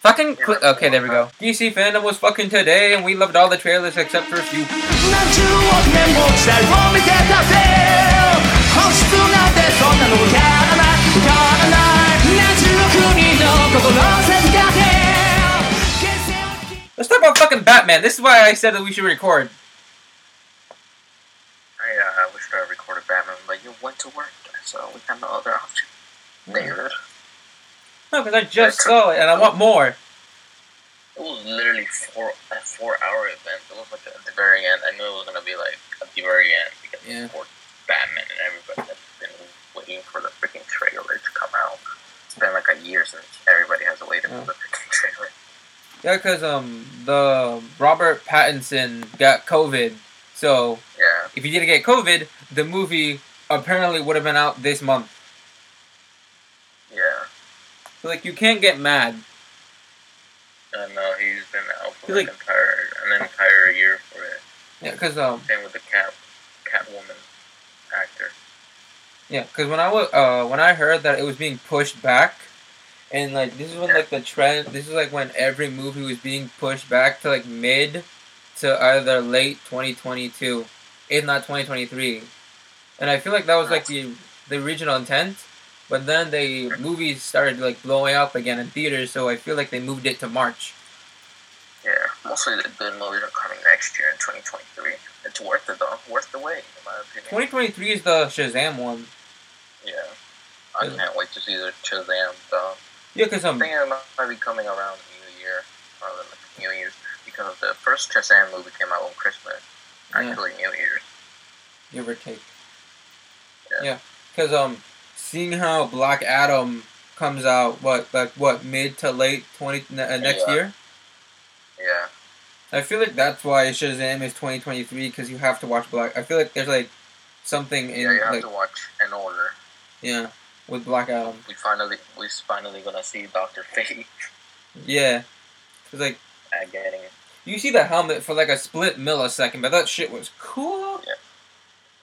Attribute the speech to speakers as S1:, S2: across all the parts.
S1: Fucking quick. Okay, there we go. DC fandom was fucking today, and we loved all the trailers except for a few. Let's talk about fucking Batman. This is why I said that we should record.
S2: I uh, wish I recorded Batman, but you went to work, so we have no other option. Nigga.
S1: No, because I just saw it, and I want more.
S2: It was literally four a four hour event. It was like at the very end. I knew it was gonna be like at the very end because
S1: Yeah.
S2: for Batman and everybody has been waiting for the freaking trailer to come out. It's been like a year since everybody has waited for the freaking trailer.
S1: Yeah, because um, the Robert Pattinson got COVID, so
S2: Yeah.
S1: if he didn't get COVID, the movie apparently would have been out this month.
S2: Yeah.
S1: So like, you can't get mad.
S2: And no, he's been out for
S1: He's
S2: like, entire an entire year for it.
S1: Yeah, because um,
S2: Same with the cat Catwoman actor.
S1: Yeah, because when I was uh, when I heard that it was being pushed back, and like this is when like the trend. This is like when every movie was being pushed back to like mid to either late twenty twenty two, if not twenty twenty three, and I feel like that was like the the original intent. But then the movies started like blowing up again in theaters, so I feel like they moved it to March.
S2: Yeah. Mostly the good movies are coming next year in 2023. It's worth it though. Worth the wait, in my opinion.
S1: Twenty twenty three is the Shazam one.
S2: Yeah. I
S1: Yeah.
S2: can't wait to see the Shazam though.
S1: Yeah, because
S2: I
S1: um,
S2: think it might be coming around New Year, or like New Year's, because the first Shazam movie came out on Christmas,
S1: Yeah.
S2: actually New Year's.
S1: give or take.
S2: Yeah.
S1: Yeah, because um, seeing how Black Adam comes out, what like what mid to late twenty ne- uh, next
S2: Yeah.
S1: year,
S2: Yeah,
S1: I feel like that's why Shazam is twenty twenty three because you have to watch Black. I feel like there's like something in
S2: yeah, you have
S1: like
S2: to watch in order.
S1: yeah with Black Adam.
S2: We finally, we finally gonna see Doctor Fate
S1: Yeah, because like
S2: at getting.
S1: you see the helmet for like a split millisecond, but that shit was cool.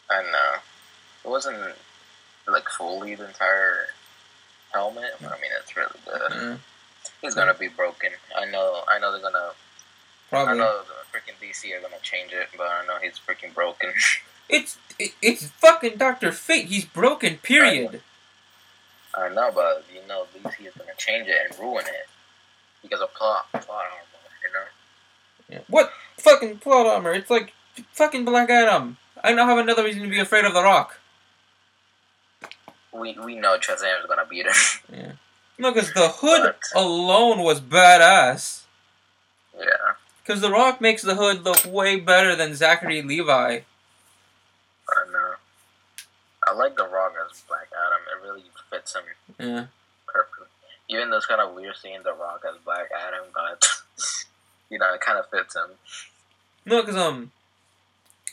S2: And uh, it wasn't like fully the entire helmet. but I mean, it's really good.
S1: Yeah,
S2: It's gonna be broken. I know. I know they're gonna. I
S1: probably.
S2: know the freaking DC are gonna change it, but I know he's freaking broken.
S1: It's it, it's fucking Doctor Fate. He's broken. Period.
S2: I know, but you know, DC is gonna change it and ruin it because of plot plot armor. You know,
S1: Yeah. What fucking plot armor? It's like fucking Black Adam. I now have another reason to be afraid of The Rock.
S2: we we know Shazam is gonna beat him.
S1: No, because the hood
S2: What?
S1: alone was badass.
S2: yeah,
S1: Because The Rock makes the hood look way better than Zachary Levi.
S2: I know. I like the Rock as Black Adam. It really fits him
S1: Yeah.
S2: perfectly. Even though it's kind of weird seeing the Rock as Black Adam, but you know, it kind of fits him.
S1: No, because um,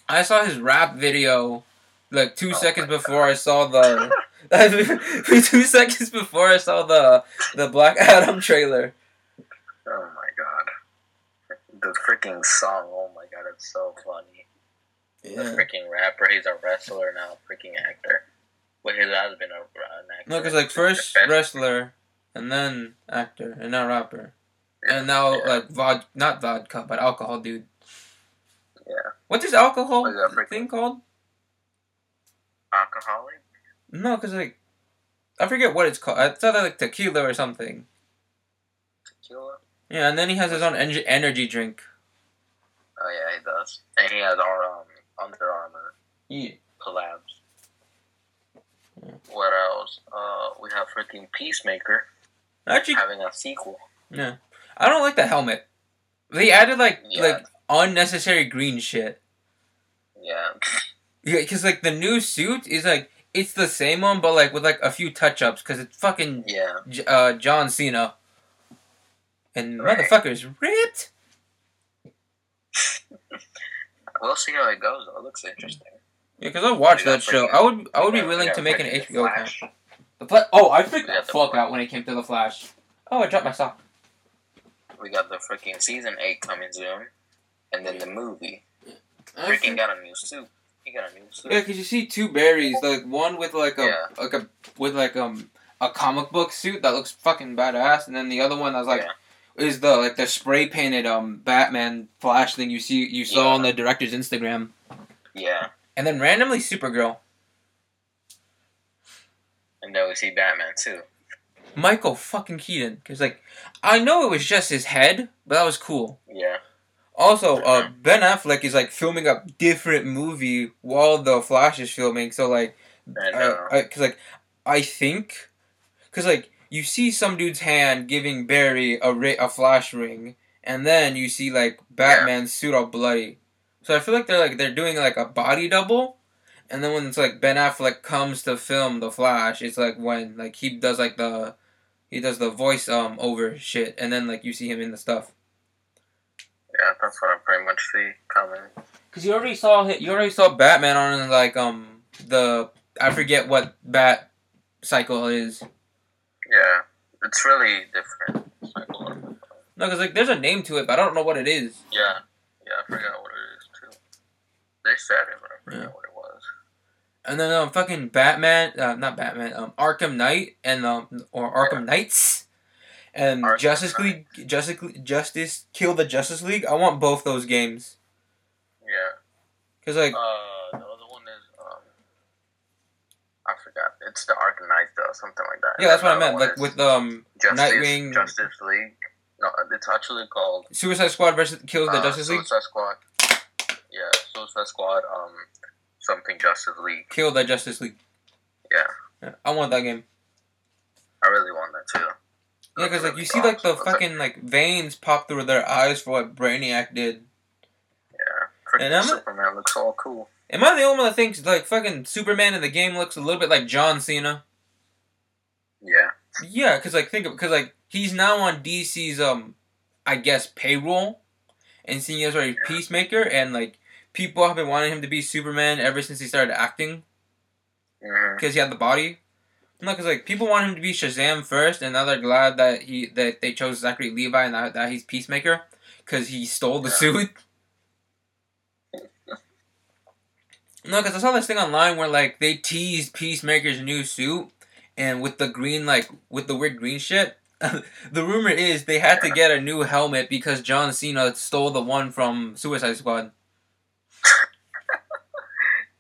S1: I saw his rap video like two
S2: Oh
S1: seconds
S2: my
S1: before I saw the. two seconds before I saw the the Black Adam trailer.
S2: Oh my god, the freaking song! Oh my god, it's so funny.
S1: Yeah.
S2: a freaking rapper. He's a wrestler now, a freaking actor. But his has been a, an actor.
S1: No, because like first wrestler, and then actor, and now rapper, and now
S2: Yeah.
S1: like vod, not vodka, but alcohol, dude.
S2: Yeah.
S1: What's this alcohol
S2: What is that freaking-
S1: thing called?
S2: alcoholic.
S1: No, because like I forget what it's called. I thought that like tequila or something.
S2: Tequila.
S1: Yeah, and then he has his own en- energy drink.
S2: Oh yeah, he does. And he has our um, Under Armour
S1: Yeah.
S2: collabs. What else? Uh, we have freaking Peacemaker
S1: Actually,
S2: having a sequel.
S1: I don't like the helmet. They added like
S2: Yeah.
S1: like unnecessary green shit.
S2: Yeah,
S1: Yeah, because like the new suit is like it's the same one, but like with like a few touch ups. Because it's fucking
S2: yeah.
S1: J- uh, John Cena. And
S2: Right.
S1: motherfuckers ripped.
S2: We'll see how it goes. though. It looks interesting.
S1: Yeah, because I watched
S2: We got
S1: that show.
S2: freaking-
S1: I would I would be
S2: We got-
S1: willing
S2: we
S1: to
S2: got
S1: make an
S2: freaking
S1: HBO account.
S2: Flash.
S1: The fla- oh, I freaked
S2: We
S1: the
S2: got the
S1: fuck
S2: Flash.
S1: out when it came to the Flash. Oh, I dropped my sock.
S2: We got the freaking season eight coming soon, and then the movie. Freaking
S1: Yeah,
S2: got a new suit. He got a new suit.
S1: because you see two berries, like one with like a
S2: Yeah.
S1: like a with like um a comic book suit that looks fucking badass, and then the other one that's like
S2: Yeah.
S1: is the like the spray painted um Batman Flash thing you see you saw
S2: Yeah.
S1: on the director's Instagram,
S2: Yeah.
S1: and then randomly Supergirl,
S2: And then we see Batman too.
S1: Michael fucking Keaton, because like I know it was just his head, but that was cool.
S2: Yeah.
S1: Also, uh, Ben Affleck is like filming a different movie while the Flash is filming. So like,
S2: And
S1: I,
S2: uh,
S1: I, cause like, I think, cause like you see some dude's hand giving Barry a ri- a Flash ring, and then you see like Batman's suit all bloody. So I feel like they're like they're doing like a body double, and then when it's like Ben Affleck comes to film the Flash, it's like when like he does like the, he does the voice um over shit, and then like you see him in the stuff.
S2: yeah, that's what I pretty much see coming.
S1: Cause you already saw hi- you already saw Batman on like um the I forget what Bat cycle is.
S2: Yeah. It's really different. It's like, well,
S1: No, cause like there's a name to it, but I don't know what it is.
S2: yeah. Yeah, I forgot what it is too. They said it, but I forgot
S1: Yeah.
S2: what it was.
S1: And then um fucking Batman, uh, not Batman, um Arkham Knight and um or Arkham Knights and
S2: Arkham
S1: Justice League, Justice League- Justice Kill the Justice League. I want both those games.
S2: Yeah.
S1: Cause like
S2: Uh, the other one is um, I forgot. It's the Arkham Knights though, something like that.
S1: yeah, that's what I
S2: Another
S1: meant.
S2: one
S1: Like
S2: is
S1: with um
S2: Justice,
S1: Nightwing-
S2: Justice League. No, it's actually called
S1: Suicide Squad versus Kills the
S2: uh,
S1: Justice League.
S2: Suicide Squad. Yeah, Suicide Squad. Um, something Justice League.
S1: Kill the Justice League.
S2: Yeah,
S1: Yeah, I want that game.
S2: I really want that too.
S1: Yeah,
S2: That's
S1: because like
S2: really
S1: you see, like the
S2: awesome. That's
S1: fucking like veins pop through their eyes for what Brainiac did.
S2: Yeah,
S1: And
S2: and
S1: I'm-
S2: Superman looks all cool.
S1: Am I the only one that thinks like fucking Superman in the game looks a little bit like John Cena?
S2: Yeah,
S1: Yeah, because like think of because like he's now on DC's um, I guess payroll, and seeing as already Peacemaker and like people have been wanting him to be Superman ever since he started acting
S2: hmm
S1: because he had the body. No, because like people wanted him to be Shazam first, and now they're glad that he that they chose Zachary Levi and that, that he's Peacemaker because he stole the
S2: Yeah.
S1: suit. No, because I saw this thing online where like they teased Peacemaker's new suit, and with the green like with the weird green shit. the rumor is they had to get a new helmet because John Cena stole the one from Suicide Squad.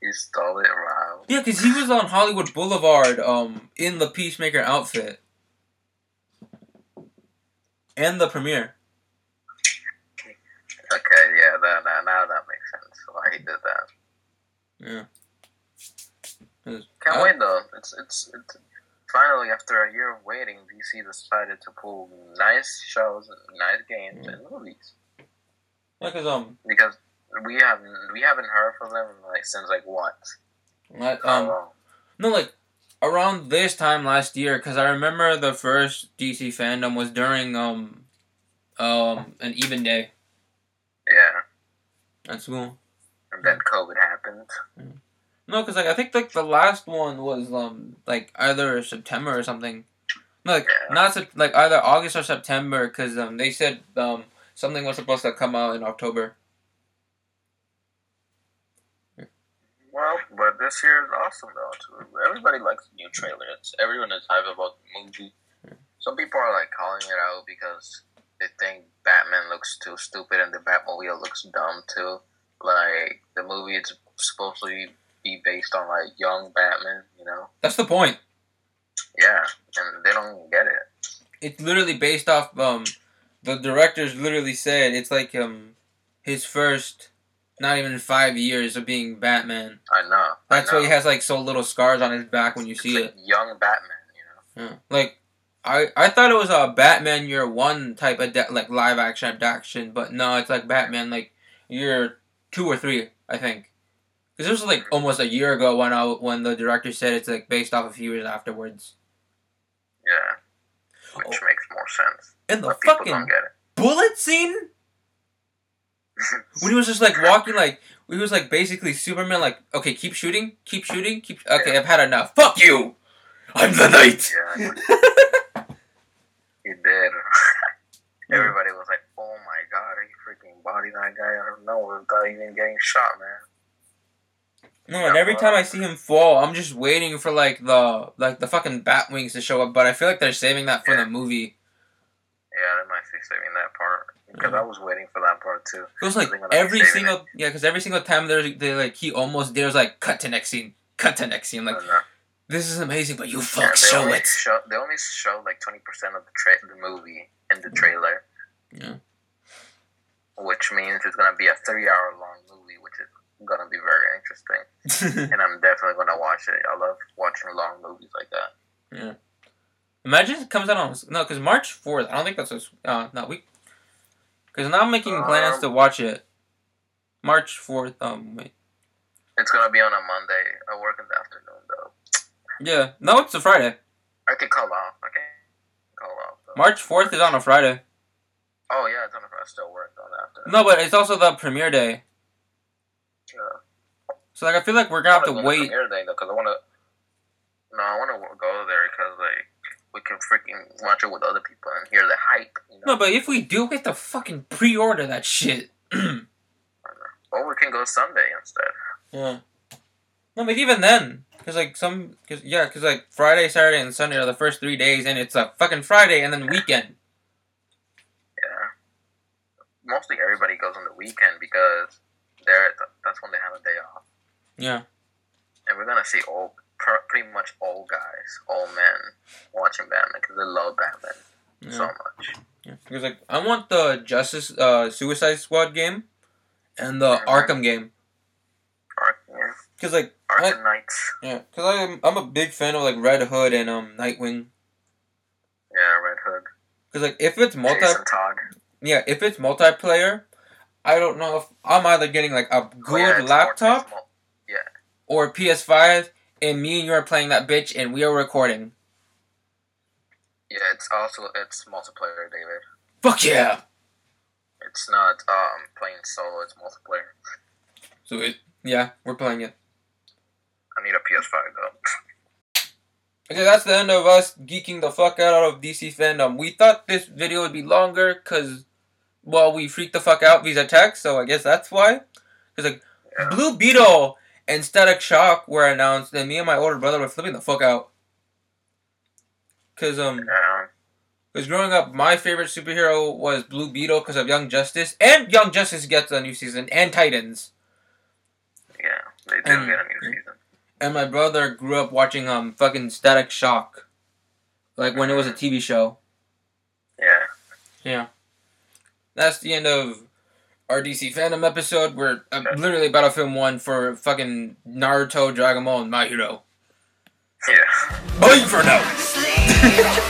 S2: he stole it. Wow.
S1: Yeah, because he was on Hollywood Boulevard um, in the Peacemaker outfit. And the premiere.
S2: Okay, yeah, that, that now that makes sense why he did that.
S1: Yeah.
S2: Can't
S1: Uh,
S2: wait though. It's, it's it's finally after a year of waiting, DC decided to pull nice shows, nice games,
S1: Mm.
S2: and movies
S1: Because, um,
S2: because we haven't we haven't heard from them like since like what?
S1: like,
S2: How
S1: um,
S2: long?
S1: no, like, around this time last year, because I remember the first DC fandom was during, um, um, an even day
S2: Yeah,
S1: at school.
S2: and then COVID happened.
S1: No, because, like, I think, like, the last one was, um, like, either September or something. No, like,
S2: Yeah.
S1: not, Sep- like, either August or September, because, um, they said, um, something was supposed to come out in October.
S2: Well, but this year is awesome though. Too. Everybody likes the new trailers. Everyone is hyped about the movie. Some people are like calling it out because they think Batman looks too stupid and the Batmobile looks dumb too. Like the movie is supposed to be based on like young Batman, you know?
S1: That's the point.
S2: Yeah, and they don't get it.
S1: It's literally based off um the directors literally said it's like um his first not even five years of being Batman.
S2: I know.
S1: That's
S2: I know.
S1: why he has like so little scars on his back when you
S2: It's
S1: see
S2: like
S1: it.
S2: young Batman, you know?
S1: Yeah. Like I I thought it was a Batman Year One type of da- like live action adaptation, but no, it's like Batman like year two or three, I think. Because this was like almost a year ago when I when the director said it's like based off a few years afterwards.
S2: Yeah. Which makes more sense.
S1: And Oh. the
S2: but people
S1: fucking
S2: don't get it.
S1: bullet scene when he was just like walking like he was like basically superman like okay keep shooting keep shooting keep okay i've had enough fuck you i'm the knight
S2: Yeah. he did. Everybody was like, "Oh my god, he freaking bodied that guy out of nowhere without even getting shot, man."
S1: no and every time i see him fall i'm just waiting for like the like the fucking bat wings to show up but i feel like they're saving that for the movie
S2: Yeah, that might be saving that part because
S1: Mm-hmm.
S2: I was waiting for that part too.
S1: It was like
S2: Something about
S1: every
S2: saving
S1: single yeah, because every single time there's they like he almost there's like cut to next scene, cut to next scene. I'm
S2: I
S1: like
S2: don't know.
S1: this is amazing, but you
S2: uh, Yeah,
S1: fuck
S2: they
S1: show
S2: only
S1: it.
S2: Show, they only show like twenty percent of the tra- the movie in the trailer.
S1: Yeah.
S2: Which means it's gonna be a three-hour long movie, which is gonna be very interesting, and I'm definitely gonna watch it. I love watching long movies like that.
S1: Imagine it comes out on no, because March fourth. I don't think that's a s- uh, not week. Because now I'm making plans
S2: Um,
S1: to watch it. March fourth. Um, wait.
S2: It's gonna be on a Monday. I work in the afternoon though.
S1: Yeah, no, it's a Friday.
S2: I could call off. I can call off. Though.
S1: March fourth is on a Friday.
S2: Oh yeah, it's on. I still work on the afternoon.
S1: No, but it's also the premiere day.
S2: Yeah.
S1: So like, I feel like we're gonna have to
S2: wanna go
S1: wait.
S2: Premiere Day, though, 'cause I want to. No, I want to go there because like we can freaking watch it with other people and hear the hype. You know?
S1: No, but if we do, we have to fucking pre-order that shit.
S2: Or we can go Sunday instead.
S1: Yeah. No, but even then, because like some, cause yeah, because like Friday, Saturday, and Sunday are the first three days, and it's a fucking Friday and then weekend.
S2: Yeah. Mostly everybody goes on the weekend because they're that's when they have a day off,
S1: Yeah.
S2: and we're gonna see all pr- pretty much all guys, all men watching Batman because they love Batman
S1: yeah.
S2: so much.
S1: Yeah. Because like I want the Justice uh, Suicide Squad game, and the
S2: Mhm.
S1: Arkham game.
S2: Ark, yeah.
S1: Because like
S2: Arkham
S1: I,
S2: Knights.
S1: yeah, because I'm I'm a big fan of like Red Hood and um Nightwing.
S2: Yeah, Red Hood.
S1: Because like if it's multi,
S2: Jason Todd.
S1: yeah, if it's multiplayer, I don't know if I'm either getting like a
S2: Oh, yeah,
S1: good
S2: it's more-
S1: laptop
S2: it's more-
S1: or PS5, and me and you are playing that bitch, and we are recording.
S2: Yeah, it's also it's multiplayer, David.
S1: Fuck yeah!
S2: It's not um playing solo. It's multiplayer.
S1: So it, yeah, we're playing it.
S2: I need a PS Five though.
S1: Okay, that's the end of us geeking the fuck out of DC fandom. We thought this video would be longer, cause, well, we freaked the fuck out vis attacks, so I guess that's why. Cause like,
S2: Yeah.
S1: Blue Beetle and Static Shock were announced, and me and my older brother were flipping the fuck out. Cause um,
S2: Yeah,
S1: cause growing up, my favorite superhero was Blue Beetle because of Young Justice, and Young Justice gets a new season, and Titans.
S2: yeah, they did
S1: Um,
S2: get a new season.
S1: and my brother grew up watching um fucking Static Shock, like when it was a TV show.
S2: Yeah,
S1: That's the end of our DC fandom episode. We're uh, literally about to film one for fucking Naruto, Dragon Ball, and My Hero.
S2: yeah.
S1: Bye for now.
S3: sleep.